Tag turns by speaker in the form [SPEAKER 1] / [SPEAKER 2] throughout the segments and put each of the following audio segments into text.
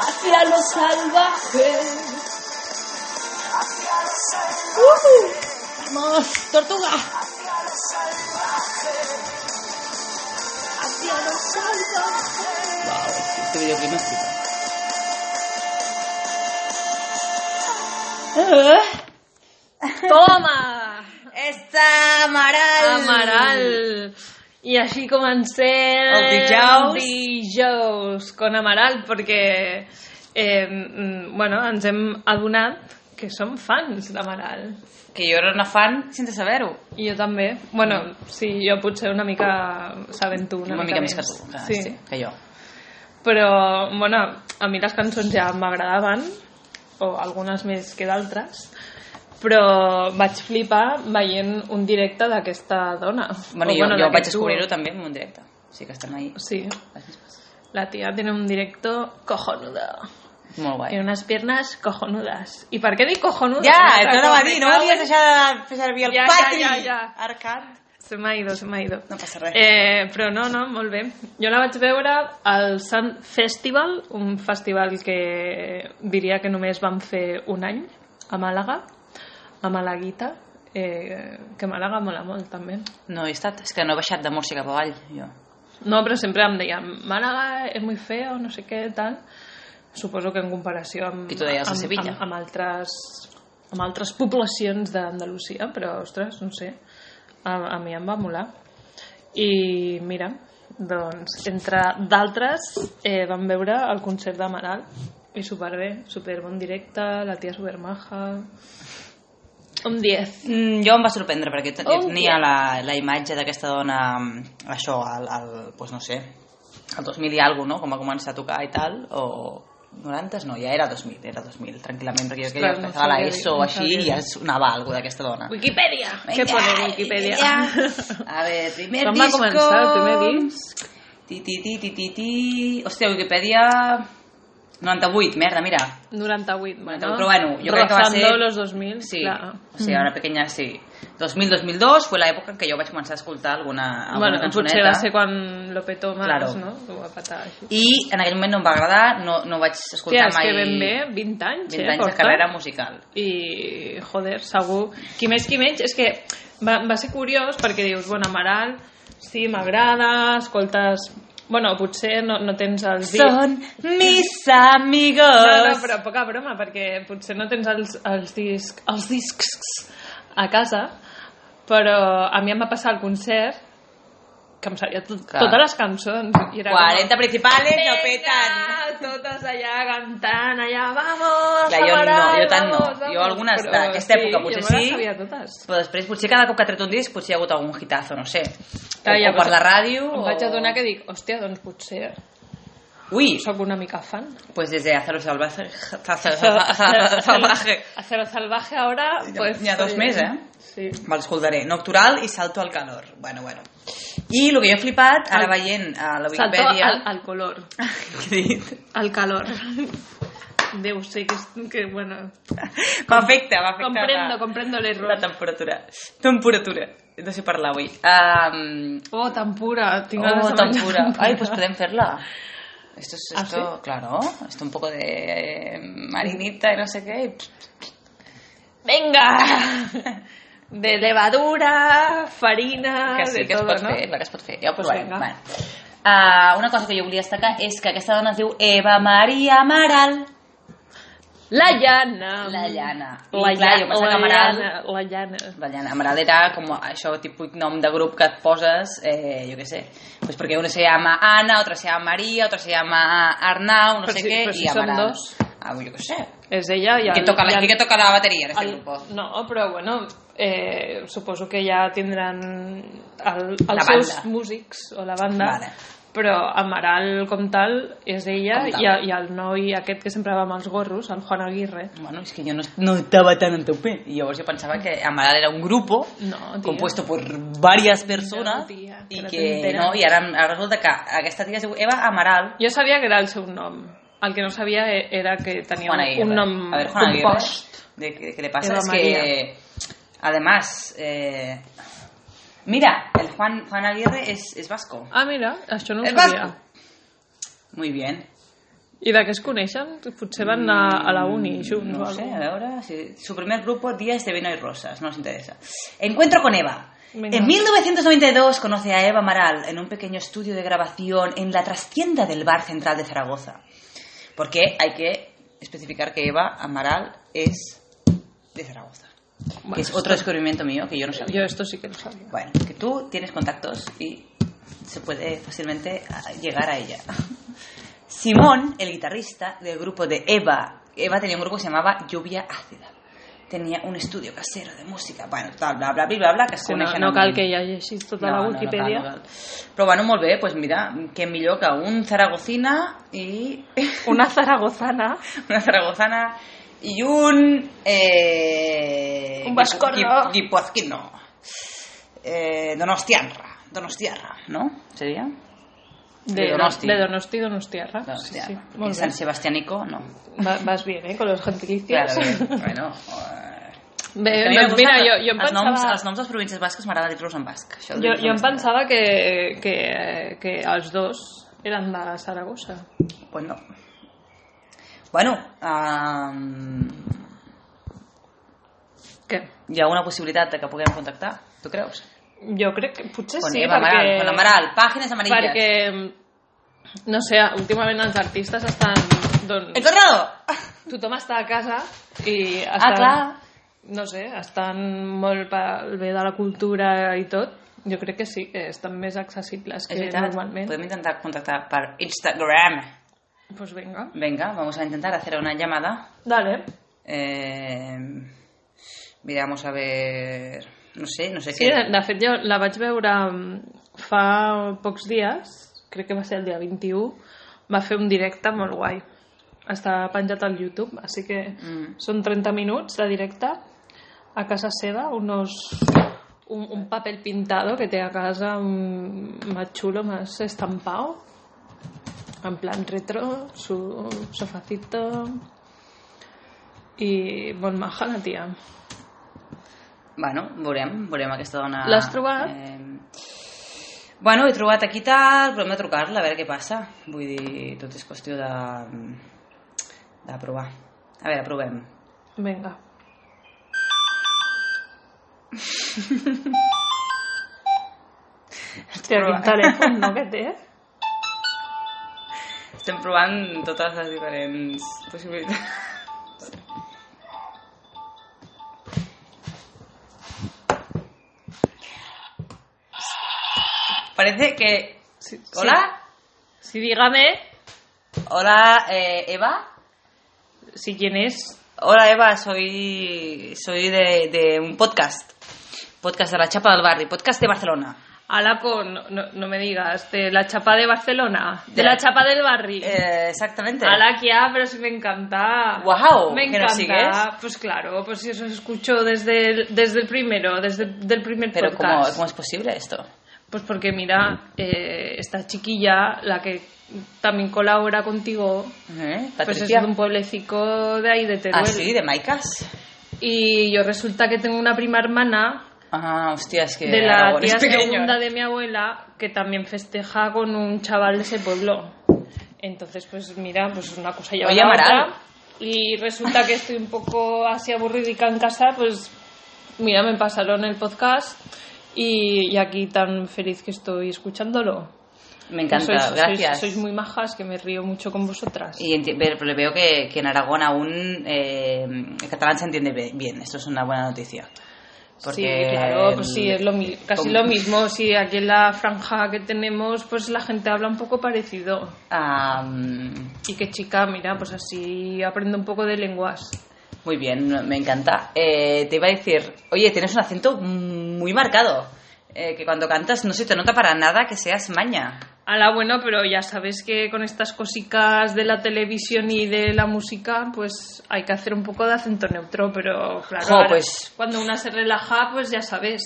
[SPEAKER 1] hacia lo salvaje. Uh, vamos, tortuga. Hacia lo salvaje.
[SPEAKER 2] Wow, este videoclip me flipa.
[SPEAKER 1] Toma!
[SPEAKER 3] Està Amaral.
[SPEAKER 1] Amaral. I així comencem...
[SPEAKER 3] El dijous.
[SPEAKER 1] dijous con Amaral, perquè eh, mm, bueno, ens hem adonat que som fans d'Amaral.
[SPEAKER 3] Que jo era una fan sense saber-ho.
[SPEAKER 1] I jo també. Bueno, sí, jo potser una mica sabent-ho
[SPEAKER 3] Una,
[SPEAKER 1] una,
[SPEAKER 3] mica més que tu, que, sí. Sí, que jo.
[SPEAKER 1] Però, bueno, a mi les cançons ja m'agradaven, o algunes més que d'altres, però vaig flipar veient un directe d'aquesta dona.
[SPEAKER 3] Bueno,
[SPEAKER 1] O,
[SPEAKER 3] jo, jo vaig
[SPEAKER 1] d'aquest duo.
[SPEAKER 3] descobrir-ho també en un directe. O sigui que estem ahí.
[SPEAKER 1] Sí, la tía tiene un directo cojonudo.
[SPEAKER 3] Molt guai.
[SPEAKER 1] Tiene unas piernas cojonudas. ¿Y por qué digo cojonudas?
[SPEAKER 3] Ja,
[SPEAKER 1] Me
[SPEAKER 3] això
[SPEAKER 1] cago-
[SPEAKER 3] no va
[SPEAKER 1] me
[SPEAKER 3] dir, no
[SPEAKER 1] cago
[SPEAKER 3] volies
[SPEAKER 1] en-
[SPEAKER 3] deixar de fer servir el
[SPEAKER 1] Ja, ja,
[SPEAKER 3] patri.
[SPEAKER 1] ja, ja.
[SPEAKER 3] Arcat.
[SPEAKER 1] Se m'ha ido, se m'ha ido.
[SPEAKER 3] No passa res.
[SPEAKER 1] Eh, però no, no, molt bé. Jo la vaig veure al Sun Festival, un festival que diria que només vam fer un any, a Màlaga, a Malaguita, eh, que Màlaga mola molt, també.
[SPEAKER 3] No he estat, és que no he baixat de Múrcia cap avall, jo.
[SPEAKER 1] No, però sempre em deien, Màlaga és molt feo, no sé què, tal. Suposo que en comparació amb,
[SPEAKER 3] I tu deies a
[SPEAKER 1] amb,
[SPEAKER 3] Sevilla.
[SPEAKER 1] amb, amb, altres, amb altres poblacions d'Andalusia, però, ostres, no sé, a, a mi em va molar. I mira, doncs, entre d'altres, eh, vam veure el concert d'Amaral, i superbé, superbon directe, la tia supermaja... Un 10.
[SPEAKER 3] Mm, jo em va sorprendre perquè jo
[SPEAKER 1] Oh,
[SPEAKER 3] tenia la, la imatge d'aquesta dona mm, això, al, al, doncs no sé al 2000 i alguna no? com va començar a tocar i tal o 90 no, ja era 2000, era 2000 tranquil·lament, perquè jo que jo
[SPEAKER 1] Ostres, no
[SPEAKER 3] estava a la
[SPEAKER 1] sabia dir,
[SPEAKER 3] ESO o
[SPEAKER 1] no
[SPEAKER 3] així
[SPEAKER 1] sabia
[SPEAKER 3] i
[SPEAKER 1] dir.
[SPEAKER 3] ja sonava alguna d'aquesta dona
[SPEAKER 1] Wikipedia! Què
[SPEAKER 3] Vinga,
[SPEAKER 1] pone Wikipedia?
[SPEAKER 3] A veure, primer
[SPEAKER 1] Quan va
[SPEAKER 3] disco
[SPEAKER 1] començar el primer disc?
[SPEAKER 3] ti, ti, ti, ti, ti, ti. Hòstia, Wikipedia 98, merda, mira
[SPEAKER 1] 98, bueno.
[SPEAKER 3] Pero bueno, yo creo que va a
[SPEAKER 1] Rozando
[SPEAKER 3] ser-
[SPEAKER 1] los 2000,
[SPEAKER 3] Sí,
[SPEAKER 1] claro.
[SPEAKER 3] o sigui, ara pequeña sí. 2000-2002 fue la època en què jo vaig començar a escoltar alguna, alguna
[SPEAKER 1] Bueno, potser
[SPEAKER 3] cançoneta.
[SPEAKER 1] va ser quan lo petó más,
[SPEAKER 3] Claro.
[SPEAKER 1] no? Ho va patar així.
[SPEAKER 3] I en aquell moment no em va agradar, no, no vaig
[SPEAKER 1] Hòstia,
[SPEAKER 3] escoltar
[SPEAKER 1] és
[SPEAKER 3] mai
[SPEAKER 1] que ben bé, 20 anys,
[SPEAKER 3] 20
[SPEAKER 1] eh,
[SPEAKER 3] anys de
[SPEAKER 1] porta.
[SPEAKER 3] carrera musical.
[SPEAKER 1] I, joder, segur... Qui més, qui menys, és que va, va ser curiós perquè dius, bueno, Amaral, sí, m'agrada, escoltes... Bueno, potser no, no tens els dits...
[SPEAKER 3] Son mis amigos.
[SPEAKER 1] No, no, però poca broma, perquè potser no tens els, els, disc, els discs a casa, però a mi em va passar el concert que em sabia tot,
[SPEAKER 3] Clar.
[SPEAKER 1] totes les cançons. I era
[SPEAKER 3] 40 principales no petan.
[SPEAKER 1] Venga, totes allà cantant, allà, vamos,
[SPEAKER 3] Clar, jo no,
[SPEAKER 1] Amaral,
[SPEAKER 3] jo tant no.
[SPEAKER 1] vamos,
[SPEAKER 3] Jo
[SPEAKER 1] vamos".
[SPEAKER 3] algunes
[SPEAKER 1] Però
[SPEAKER 3] d'aquesta època potser
[SPEAKER 1] jo me les
[SPEAKER 3] sí.
[SPEAKER 1] sabia totes.
[SPEAKER 3] Però després, potser cada cop que ha tret un disc, potser hi ha hagut algun hitazo, no sé.
[SPEAKER 1] Clar,
[SPEAKER 3] o,
[SPEAKER 1] ja
[SPEAKER 3] o per
[SPEAKER 1] vas-
[SPEAKER 3] la ràdio...
[SPEAKER 1] Em
[SPEAKER 3] o...
[SPEAKER 1] vaig adonar que dic, hòstia, doncs potser
[SPEAKER 3] Ui,
[SPEAKER 1] sóc una mica fan.
[SPEAKER 3] pues des de Acero Salvaje... Salvaje.
[SPEAKER 1] A Cero Salvaje ahora...
[SPEAKER 3] Ja-
[SPEAKER 1] Pues,
[SPEAKER 3] n'hi ha dos més, eh?
[SPEAKER 1] Sí.
[SPEAKER 3] Me'ls escoltaré. Noctural i Salto al calor. Bueno, bueno. I el que jo he flipat, ara
[SPEAKER 1] Al-
[SPEAKER 3] veient a la
[SPEAKER 1] Saltó
[SPEAKER 3] Wikipedia... Ah,
[SPEAKER 1] al, al color.
[SPEAKER 3] Què he dit?
[SPEAKER 1] Al calor. Déu, sí, que, és- que bueno...
[SPEAKER 3] M'afecta, m'afecta.
[SPEAKER 1] Comprendo,
[SPEAKER 3] la-
[SPEAKER 1] comprendo l'error.
[SPEAKER 3] La temperatura. Temperatura. No sé parlar avui. Um,
[SPEAKER 1] Oh, tan pura. Tinc ganes
[SPEAKER 3] oh,
[SPEAKER 1] de
[SPEAKER 3] tempura.
[SPEAKER 1] menjar
[SPEAKER 3] Ay, pues podem fer-la. Esto es,
[SPEAKER 1] ¿Ah,
[SPEAKER 3] esto, claro, esto un poco de eh, marinita y no sé qué. y-
[SPEAKER 1] Venga! De levadura, farina,
[SPEAKER 3] Que sí,
[SPEAKER 1] Ah, de
[SPEAKER 3] que es
[SPEAKER 1] todo,
[SPEAKER 3] pot
[SPEAKER 1] no?
[SPEAKER 3] fer, clar que es pot fer. Ja ho
[SPEAKER 1] Pues
[SPEAKER 3] provarem.
[SPEAKER 1] vinga.
[SPEAKER 3] vale. Uh, una cosa que jo volia destacar és que aquesta dona es diu Eva Maria Amaral.
[SPEAKER 1] La llana.
[SPEAKER 3] La llana. I
[SPEAKER 1] La,
[SPEAKER 3] clar, jo
[SPEAKER 1] llana,
[SPEAKER 3] pensava
[SPEAKER 1] la
[SPEAKER 3] que Amaral-
[SPEAKER 1] llana, la llana.
[SPEAKER 3] La llana Amaral era com això típic nom de grup que et poses, eh, jo què sé, pues perquè una se llama Ana, otra se llama María, otra se llama Arnau, no
[SPEAKER 1] Però
[SPEAKER 3] sé
[SPEAKER 1] si-
[SPEAKER 3] què,
[SPEAKER 1] però
[SPEAKER 3] i
[SPEAKER 1] si són
[SPEAKER 3] Amaral.
[SPEAKER 1] dos.
[SPEAKER 3] Ah, jo què sé.
[SPEAKER 1] És ella i
[SPEAKER 3] I
[SPEAKER 1] el...
[SPEAKER 3] que toca la,
[SPEAKER 1] i el-
[SPEAKER 3] i que toca la bateria en este
[SPEAKER 1] el-
[SPEAKER 3] grupo.
[SPEAKER 1] No, però bueno, eh, suposo que ja tindran el,
[SPEAKER 3] La
[SPEAKER 1] els seus
[SPEAKER 3] banda.
[SPEAKER 1] músics o la banda.
[SPEAKER 3] Vale.
[SPEAKER 1] Però Amaral, com tal, és ella
[SPEAKER 3] Com tal.
[SPEAKER 1] i, el- i el noi aquest que sempre va amb els gorros, el Juan Aguirre.
[SPEAKER 3] Bueno, és que jo no, no estava tan en teu pe. I llavors jo pensava que Amaral era un grupo
[SPEAKER 1] No, tia.
[SPEAKER 3] compuesto por varias personas
[SPEAKER 1] No, tia,
[SPEAKER 3] i
[SPEAKER 1] que no
[SPEAKER 3] que
[SPEAKER 1] t'enteres.
[SPEAKER 3] no, i ara, ara resulta que aquesta tia es diu Eva Amaral
[SPEAKER 1] Jo sabia que era el seu nom. El que no sabia e- era que tenia
[SPEAKER 3] Juan Aguirre.
[SPEAKER 1] un, un nom
[SPEAKER 3] a ver, Juan Aguirre,
[SPEAKER 1] compost.
[SPEAKER 3] de, que, que le pasa
[SPEAKER 1] Eva
[SPEAKER 3] es
[SPEAKER 1] María.
[SPEAKER 3] que, además, eh, mira, el Juan, Juan Aguirre es, es vasco.
[SPEAKER 1] Ah, mira, això no ho
[SPEAKER 3] És
[SPEAKER 1] sabia.
[SPEAKER 3] vasco. Muy bien.
[SPEAKER 1] I de què es coneixen? Potser van a, a la uni junts.
[SPEAKER 3] Mm, No
[SPEAKER 1] o
[SPEAKER 3] sé,
[SPEAKER 1] algo.
[SPEAKER 3] a ver, si- su primer grupo, Días de Vino y Rosas, no nos interesa. Encuentro con Eva.
[SPEAKER 1] Venga.
[SPEAKER 3] En 1992 conoce a Eva Maral en un pequeño estudio de grabación en la trastienda del Bar Central de Zaragoza. Porque hay que especificar que Eva Amaral es de Zaragoza.
[SPEAKER 1] Bueno,
[SPEAKER 3] que es otro descubrimiento mío que yo no sabía.
[SPEAKER 1] Yo esto sí que lo sabía.
[SPEAKER 3] Bueno, que tú tienes contactos y se puede fácilmente ah, llegar a ella. Simón, el guitarrista del grupo de Eva. Eva tenía un grupo que se llamaba Lluvia Ácida. Tenía un estudio casero de música. Bueno, tal, bla, bla, bla, bla, bla, que es
[SPEAKER 1] Que no,
[SPEAKER 3] coneixen
[SPEAKER 1] no
[SPEAKER 3] amb-
[SPEAKER 1] cal que hi llegis tota la Wikipedia.
[SPEAKER 3] no cal, no cal. Però bueno, molt bé, doncs mira, què millor que un zaragocina i...
[SPEAKER 1] Una zaragozana.
[SPEAKER 3] una zaragozana y un eh,
[SPEAKER 1] Un vascorno.
[SPEAKER 3] guipu- guipuzquino eh, donostiarra donostiarra no sería
[SPEAKER 1] De,
[SPEAKER 3] De Donosti.
[SPEAKER 1] De Donosti, Donostiarra.
[SPEAKER 3] donostiarra
[SPEAKER 1] Sí, sí.
[SPEAKER 3] Porque
[SPEAKER 1] Molt
[SPEAKER 3] San
[SPEAKER 1] bé.
[SPEAKER 3] Sebastiánico no
[SPEAKER 1] Va, vas bien, eh, con los gentilicios.
[SPEAKER 3] claro, bé, bueno eh,
[SPEAKER 1] Bé,
[SPEAKER 3] és que a mi
[SPEAKER 1] doncs
[SPEAKER 3] m'agrada
[SPEAKER 1] mira,
[SPEAKER 3] que
[SPEAKER 1] jo, jo em
[SPEAKER 3] els noms,
[SPEAKER 1] pensava...
[SPEAKER 3] els noms de les províncies basques m'agrada dir-los en basc. Això
[SPEAKER 1] Jo,
[SPEAKER 3] ho dic
[SPEAKER 1] jo em
[SPEAKER 3] honestament.
[SPEAKER 1] pensava que, que, que els dos eren de Saragossa.
[SPEAKER 3] Pues no. Bueno, um,
[SPEAKER 1] Què?
[SPEAKER 3] hi ha una possibilitat de que puguem contactar, tu creus?
[SPEAKER 1] Jo crec que potser
[SPEAKER 3] Con
[SPEAKER 1] Pues sí,
[SPEAKER 3] Eva
[SPEAKER 1] perquè...
[SPEAKER 3] Amaral, con Amaral, pàgines amarilles.
[SPEAKER 1] perquè, no sé, últimament els artistes estan... Doncs,
[SPEAKER 3] Encontrado!
[SPEAKER 1] tothom està a casa i estan,
[SPEAKER 3] Ah, clar.
[SPEAKER 1] no sé, estan molt pel bé de la cultura i tot. Jo crec que sí, que estan més accessibles
[SPEAKER 3] És
[SPEAKER 1] que
[SPEAKER 3] veritat,
[SPEAKER 1] Eh, normalment.
[SPEAKER 3] podem intentar contactar per Instagram.
[SPEAKER 1] Doncs pues vinga.
[SPEAKER 3] Venga, vamos a intentar hacer una llamada.
[SPEAKER 1] Dale.
[SPEAKER 3] Eh, miramos a ver... No sé, no sé
[SPEAKER 1] Sí, de,
[SPEAKER 3] qué...
[SPEAKER 1] de fet jo la vaig veure mm, fa pocs dies, crec que va ser el dia 21, va fer un directe molt guai. Està penjat al YouTube, així que
[SPEAKER 3] Mm.
[SPEAKER 1] són 30 minuts de directe a casa seva, unos, un, un papel pintado que té a casa un, más chulo, más estampado, en plan retro, su sofacito... I bon maja, la tia.
[SPEAKER 3] Bueno, veurem, veurem aquesta dona...
[SPEAKER 1] L'has trobat?
[SPEAKER 3] Eh, bueno, he trobat aquí tal, però hem de trucar-la, a veure què passa. Vull dir, tot és qüestió de... de provar. A veure, provem.
[SPEAKER 1] Vinga. Hòstia, quin telèfon, no, que té?
[SPEAKER 3] Estem provant totes les diferents possibilitats. Parece que...
[SPEAKER 1] Sí, sí.
[SPEAKER 3] Hola,
[SPEAKER 1] Sí, dígame
[SPEAKER 3] hola eh, Eva.
[SPEAKER 1] si quién es.
[SPEAKER 3] Hola Eva, soy, soy de, de un podcast. Podcast de la Chapa del Barri, podcast de Barcelona.
[SPEAKER 1] Alapo, pues, no, no, no me digas, de la chapa de Barcelona, de
[SPEAKER 3] De-
[SPEAKER 1] la chapa del barri.
[SPEAKER 3] Eh, exactamente.
[SPEAKER 1] Ala, que ah, pero si me encanta.
[SPEAKER 3] Guau,
[SPEAKER 1] me
[SPEAKER 3] que
[SPEAKER 1] encanta.
[SPEAKER 3] nos sigues.
[SPEAKER 1] Pues claro, pues si os escucho desde el, desde el primero, desde el primer
[SPEAKER 3] Pero ¿cómo,
[SPEAKER 1] podcast.
[SPEAKER 3] ¿cómo es posible esto?
[SPEAKER 1] Pues porque mira, eh, esta chiquilla, la que también colabora contigo,
[SPEAKER 3] ¿Eh?
[SPEAKER 1] pues es
[SPEAKER 3] Patricia.
[SPEAKER 1] de un pueblecico de ahí, de Teruel.
[SPEAKER 3] ah, sí, de Maicas.
[SPEAKER 1] Y yo resulta que tengo una prima hermana
[SPEAKER 3] Ah, hostia, es que este
[SPEAKER 1] de la
[SPEAKER 3] Aragón es
[SPEAKER 1] tía
[SPEAKER 3] pequeño.
[SPEAKER 1] segunda de mi abuela que también festeja con un chaval de ese pueblo. Entonces, pues mira, pues una cosa lleva
[SPEAKER 3] Oye,
[SPEAKER 1] a la
[SPEAKER 3] Amaral.
[SPEAKER 1] otra. Y resulta que estoy un poco así aburridica en casa, pues mira, me pasaron el podcast y- y aquí tan feliz que estoy escuchándolo.
[SPEAKER 3] Me encanta,
[SPEAKER 1] Sois- sois-
[SPEAKER 3] gracias.
[SPEAKER 1] Sois, muy majas, que me río mucho con vosotras.
[SPEAKER 3] Y enti- ver- pero veo que, que en Aragón aún eh, el catalán se entiende be- bien. Esto es una buena noticia. Porque
[SPEAKER 1] sí, claro, pues
[SPEAKER 3] el-
[SPEAKER 1] sí, es lo mi- casi
[SPEAKER 3] com-
[SPEAKER 1] lo mismo. Sí, aquí en la franja que tenemos, pues la gente habla un poco parecido.
[SPEAKER 3] Ah, mm,
[SPEAKER 1] Y que chica, mira, pues así aprendo un poco de lenguas.
[SPEAKER 3] muy bien, me encanta. Eh, te iba a decir, oye, tienes un acento muy marcado. eh, que cuando cantas no se te nota para nada que seas maña.
[SPEAKER 1] Ala, bueno, pero ya sabes que con estas cositas de la televisión y de la música, pues hay que hacer un poco de acento neutro, pero claro,
[SPEAKER 3] Jo,
[SPEAKER 1] ahora,
[SPEAKER 3] pues-
[SPEAKER 1] cuando una se relaja, pues ya sabes,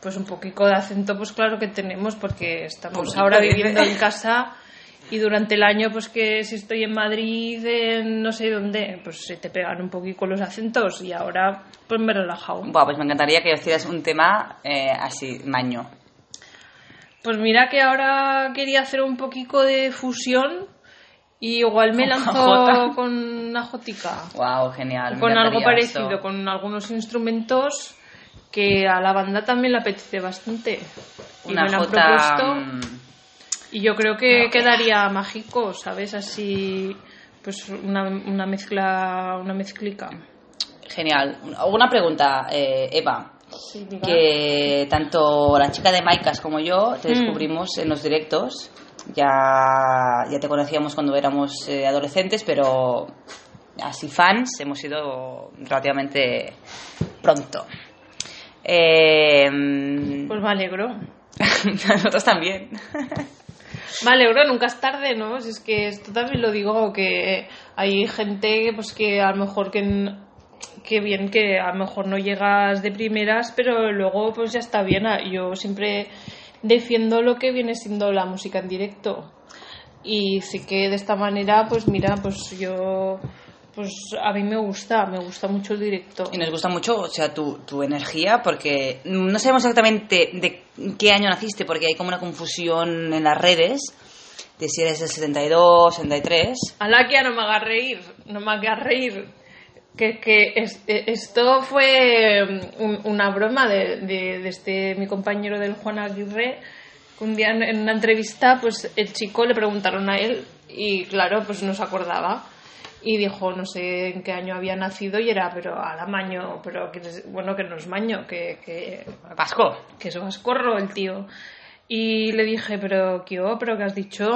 [SPEAKER 1] pues un poquito de acento, pues claro que tenemos, porque estamos
[SPEAKER 3] Poquito,
[SPEAKER 1] ahora
[SPEAKER 3] dice.
[SPEAKER 1] viviendo en casa y durante el año, pues que si estoy en Madrid, en no sé dónde, pues se te pegan un poquito los acentos y ahora pues me he relajado.
[SPEAKER 3] Buah, pues me encantaría que hicieras un tema eh, así, maño.
[SPEAKER 1] Pues mira que ahora quería hacer un poquito de fusión Y igual me
[SPEAKER 3] Con
[SPEAKER 1] lanzo
[SPEAKER 3] jota.
[SPEAKER 1] con una jotica.
[SPEAKER 3] Wow, genial. me
[SPEAKER 1] con algo
[SPEAKER 3] encantaría esto.
[SPEAKER 1] parecido, con algunos instrumentos que a la banda también le apetece bastante. Y
[SPEAKER 3] una
[SPEAKER 1] me lo han
[SPEAKER 3] jota.
[SPEAKER 1] propuesto.
[SPEAKER 3] mm,
[SPEAKER 1] Y yo creo que
[SPEAKER 3] No.
[SPEAKER 1] quedaría mágico, ¿sabes? Así, pues una, una mezcla, una mezclica.
[SPEAKER 3] Genial. Una pregunta, eh, Eva. que tanto la chica de Maicas como yo te
[SPEAKER 1] Mm.
[SPEAKER 3] descubrimos en los directos. Ya, ya te conocíamos cuando éramos eh, adolescentes, pero así fans hemos sido relativamente pronto. Eh,
[SPEAKER 1] Pues me alegro.
[SPEAKER 3] nosotros también.
[SPEAKER 1] Me alegro, nunca es tarde, ¿no? Si es que esto también lo digo, que hay gente pues que a lo mejor que... n- Que bien que a lo mejor no llegas de primeras, pero luego pues ya está bien. Ah, Yo siempre defiendo lo que viene siendo la música en directo. Y sí que de esta manera, pues mira, pues yo... Pues a mí me gusta, me gusta mucho el directo.
[SPEAKER 3] Y nos gusta mucho, o sea, tu, tu energía, porque no sabemos exactamente de qué año naciste, porque hay como una confusión en las redes de si eres del 72, 73.
[SPEAKER 1] Alakia, no me hagas reír, no me hagas reír. Que, que es- eh, esto fue mm, un- una broma de, de- de este mi compañero del Juan Aguirre. que Un día en- en una entrevista, pues el chico le preguntaron a él y claro, pues no se acordaba. Y dijo, no sé en qué año había nacido y era, pero a la maño, pero que, es- bueno, que no es maño, que, que
[SPEAKER 3] Pasco.
[SPEAKER 1] que es vascorro el tío. Y le dije, pero ¿qué oh, pero qué has dicho?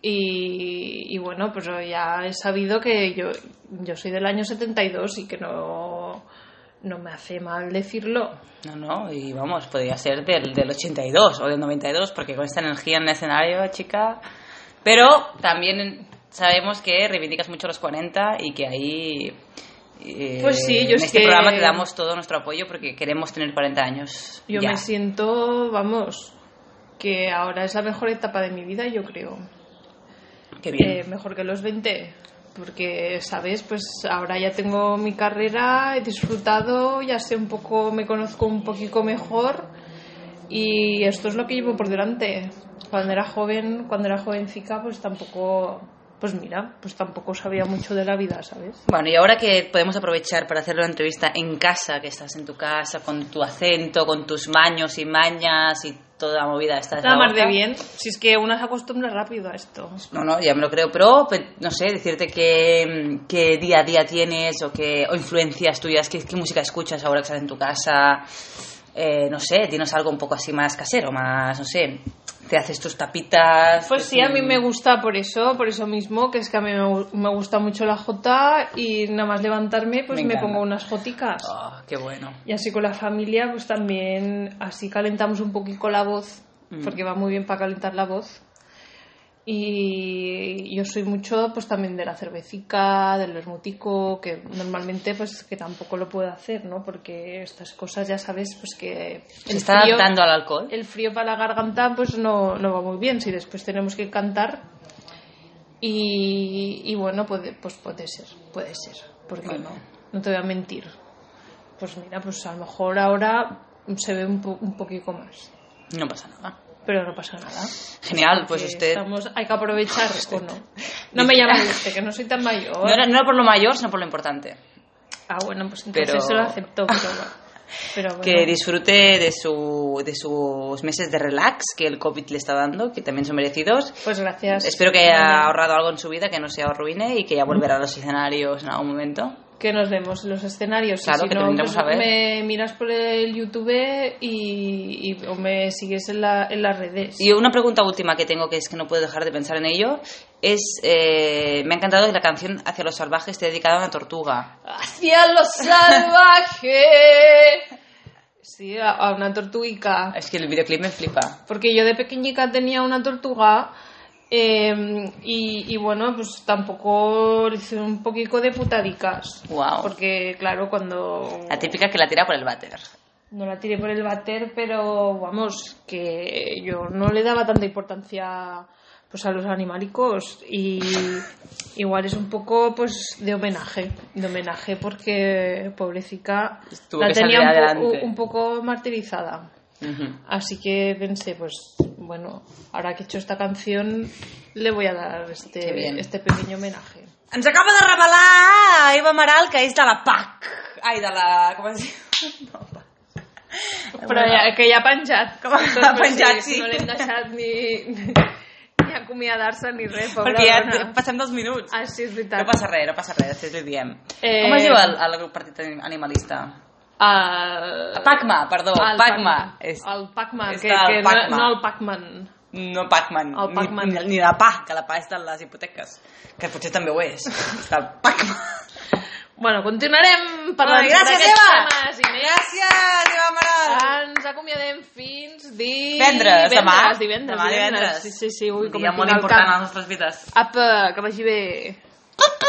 [SPEAKER 1] Y, y bueno, pues ya he sabido que yo, yo soy del año 72 y que no, no me hace mal decirlo.
[SPEAKER 3] No, no, y vamos, podría ser del, del 82 o del 92, porque con esta energía en el escenario, chica. Pero también sabemos que reivindicas mucho los 40 y que ahí. eh,
[SPEAKER 1] Pues sí, yo
[SPEAKER 3] En
[SPEAKER 1] es
[SPEAKER 3] este
[SPEAKER 1] que-
[SPEAKER 3] programa te damos todo nuestro apoyo porque queremos tener 40 años.
[SPEAKER 1] Yo
[SPEAKER 3] ya.
[SPEAKER 1] me siento, vamos, que ahora es la mejor etapa de mi vida, yo creo.
[SPEAKER 3] Qué bien.
[SPEAKER 1] Eh, mejor que los 20. Porque, ¿sabes? Pues ahora ya tengo mi carrera, he disfrutado, ya sé un poco, me conozco un poquito mejor y esto es lo que llevo por delante. Cuando era joven, cuando era jovencica, pues tampoco, pues mira, pues tampoco sabía mucho de la vida, ¿sabes?
[SPEAKER 3] Bueno, y ahora que podemos aprovechar para hacer una entrevista en casa, que estás en tu casa con tu acento, con tus maños y mañas y toda la movida, estás
[SPEAKER 1] Nada más de bien, si es que una se acostumbra rápido a esto.
[SPEAKER 3] No, no, ya me lo creo, pero pe- no sé, decirte qué, qué día a día tienes o qué o influencias tuyas, qué, qué música escuchas ahora que estás en tu casa, eh, no sé, dinos algo un poco así más casero, más, no sé, te haces tus tapitas. Mm.
[SPEAKER 1] Pues sí, a mí me gusta por eso, por eso mismo, que es que a mí me gu- me gusta mucho la jota y nada más levantarme pues
[SPEAKER 3] Me
[SPEAKER 1] me,
[SPEAKER 3] encanta.
[SPEAKER 1] pongo unas joticas.
[SPEAKER 3] Oh, qué bueno.
[SPEAKER 1] Y así con la familia, pues también así calentamos un poquito la voz,
[SPEAKER 3] Mm.
[SPEAKER 1] porque va muy bien para calentar la voz. Y yo soy mucho, pues también de la cervecica, del vermutico, que normalmente, pues que tampoco lo puedo hacer, ¿no? Porque estas cosas ya sabes, pues que.
[SPEAKER 3] ¿Se está adaptando al alcohol?
[SPEAKER 1] el frío para la garganta, pues no, no va muy bien. Si después tenemos que cantar. Y, y bueno, puede, pues puede ser, puede ser. ¿Por qué
[SPEAKER 3] Bueno.
[SPEAKER 1] no? No te voy a mentir. Pues mira, pues a lo mejor ahora se ve un, po- un poquito más.
[SPEAKER 3] No pasa nada.
[SPEAKER 1] Pero no pasa nada.
[SPEAKER 3] Genial, pues
[SPEAKER 1] Que
[SPEAKER 3] usted...
[SPEAKER 1] Estamos, hay que aprovechar o no. No me llames usted, que no soy tan mayor.
[SPEAKER 3] No era, no era por lo mayor, sino por lo importante.
[SPEAKER 1] Ah, bueno, pues entonces
[SPEAKER 3] Pero-
[SPEAKER 1] se lo acepto. Pero, bueno. pero bueno.
[SPEAKER 3] Que disfrute de, su, de sus meses de relax que el COVID le está dando, que también son merecidos.
[SPEAKER 1] Pues gracias.
[SPEAKER 3] Espero que haya
[SPEAKER 1] Bueno,
[SPEAKER 3] ahorrado algo en su vida, que no se arruine y que ya volverá a los escenarios en algún momento.
[SPEAKER 1] que nos vemos en los escenarios. Y
[SPEAKER 3] Claro,
[SPEAKER 1] si
[SPEAKER 3] que te
[SPEAKER 1] no,
[SPEAKER 3] vendremos
[SPEAKER 1] pues
[SPEAKER 3] a ver.
[SPEAKER 1] me miras por el YouTube y, y- o me sigues en, la- en las redes.
[SPEAKER 3] Y una pregunta última que tengo, que es que no puedo dejar de pensar en ello, es... eh, me ha encantado que la canción Hacia los salvajes esté dedicada a una tortuga.
[SPEAKER 1] Hacia lo salvaje. Sí, a, a una tortuica.
[SPEAKER 3] Es que el videoclip me flipa.
[SPEAKER 1] Porque yo de pequeñica tenía una tortuga eh, y, y bueno, pues tampoco le hice un poquito de putadicas.
[SPEAKER 3] Guau.
[SPEAKER 1] Porque claro, cuando...
[SPEAKER 3] La típica que la tira por el váter.
[SPEAKER 1] No la tiré por el bater, pero vamos, que yo no le daba tanta importancia pues a los animalicos y igual es un poco pues de homenaje, de homenaje porque pobrecica
[SPEAKER 3] Tuvo
[SPEAKER 1] la
[SPEAKER 3] que
[SPEAKER 1] tenía
[SPEAKER 3] salir
[SPEAKER 1] un, po-
[SPEAKER 3] adelante.
[SPEAKER 1] un poco martirizada.
[SPEAKER 3] Ujú.
[SPEAKER 1] Así que pensé, pues bueno, ahora que he hecho esta canción, le voy a dar
[SPEAKER 3] Qué bien.
[SPEAKER 1] este, este pequeño homenaje.
[SPEAKER 3] Ens acaba de revelar Eva Maral que és de la PAC. Ai, de la... Com es diu? No, PAC.
[SPEAKER 1] Però ja, que ja ha penjat.
[SPEAKER 3] Com ha
[SPEAKER 1] Entonces, pues,
[SPEAKER 3] penjat, sí.
[SPEAKER 1] No l'hem deixat ni, ni acomiadar-se ni res, pobra
[SPEAKER 3] Perquè ja
[SPEAKER 1] dona.
[SPEAKER 3] passem dos minuts.
[SPEAKER 1] Ah, sí, és veritat.
[SPEAKER 3] No passa res, no passa res, després li diem.
[SPEAKER 1] Eh,
[SPEAKER 3] Com es diu el, el grup partit animalista?
[SPEAKER 1] El...
[SPEAKER 3] Pacma, perdó,
[SPEAKER 1] El
[SPEAKER 3] Pacma. És-
[SPEAKER 1] El Pacma,
[SPEAKER 3] és
[SPEAKER 1] que,
[SPEAKER 3] del
[SPEAKER 1] que
[SPEAKER 3] Pacma.
[SPEAKER 1] No, no el Pacman.
[SPEAKER 3] No Pac-Man,
[SPEAKER 1] El Pac-Man.
[SPEAKER 3] Ni, ni, ni la PA, que la PA és de les hipoteques, que potser també ho és, és del Pac-Man.
[SPEAKER 1] Bueno, continuarem parlant
[SPEAKER 3] Ai, gràcies,
[SPEAKER 1] d'aquests
[SPEAKER 3] Eva!
[SPEAKER 1] temes i més.
[SPEAKER 3] Gràcies, Eva Maral!
[SPEAKER 1] Ens acomiadem fins di...
[SPEAKER 3] Divendres, demà.
[SPEAKER 1] Divendres, divendres,
[SPEAKER 3] Demà
[SPEAKER 1] divendres.
[SPEAKER 3] divendres.
[SPEAKER 1] Sí, sí, sí, ui, com
[SPEAKER 3] dia
[SPEAKER 1] em
[SPEAKER 3] molt
[SPEAKER 1] pica el
[SPEAKER 3] important a
[SPEAKER 1] cap.
[SPEAKER 3] les nostres vides.
[SPEAKER 1] Apa, que vagi bé.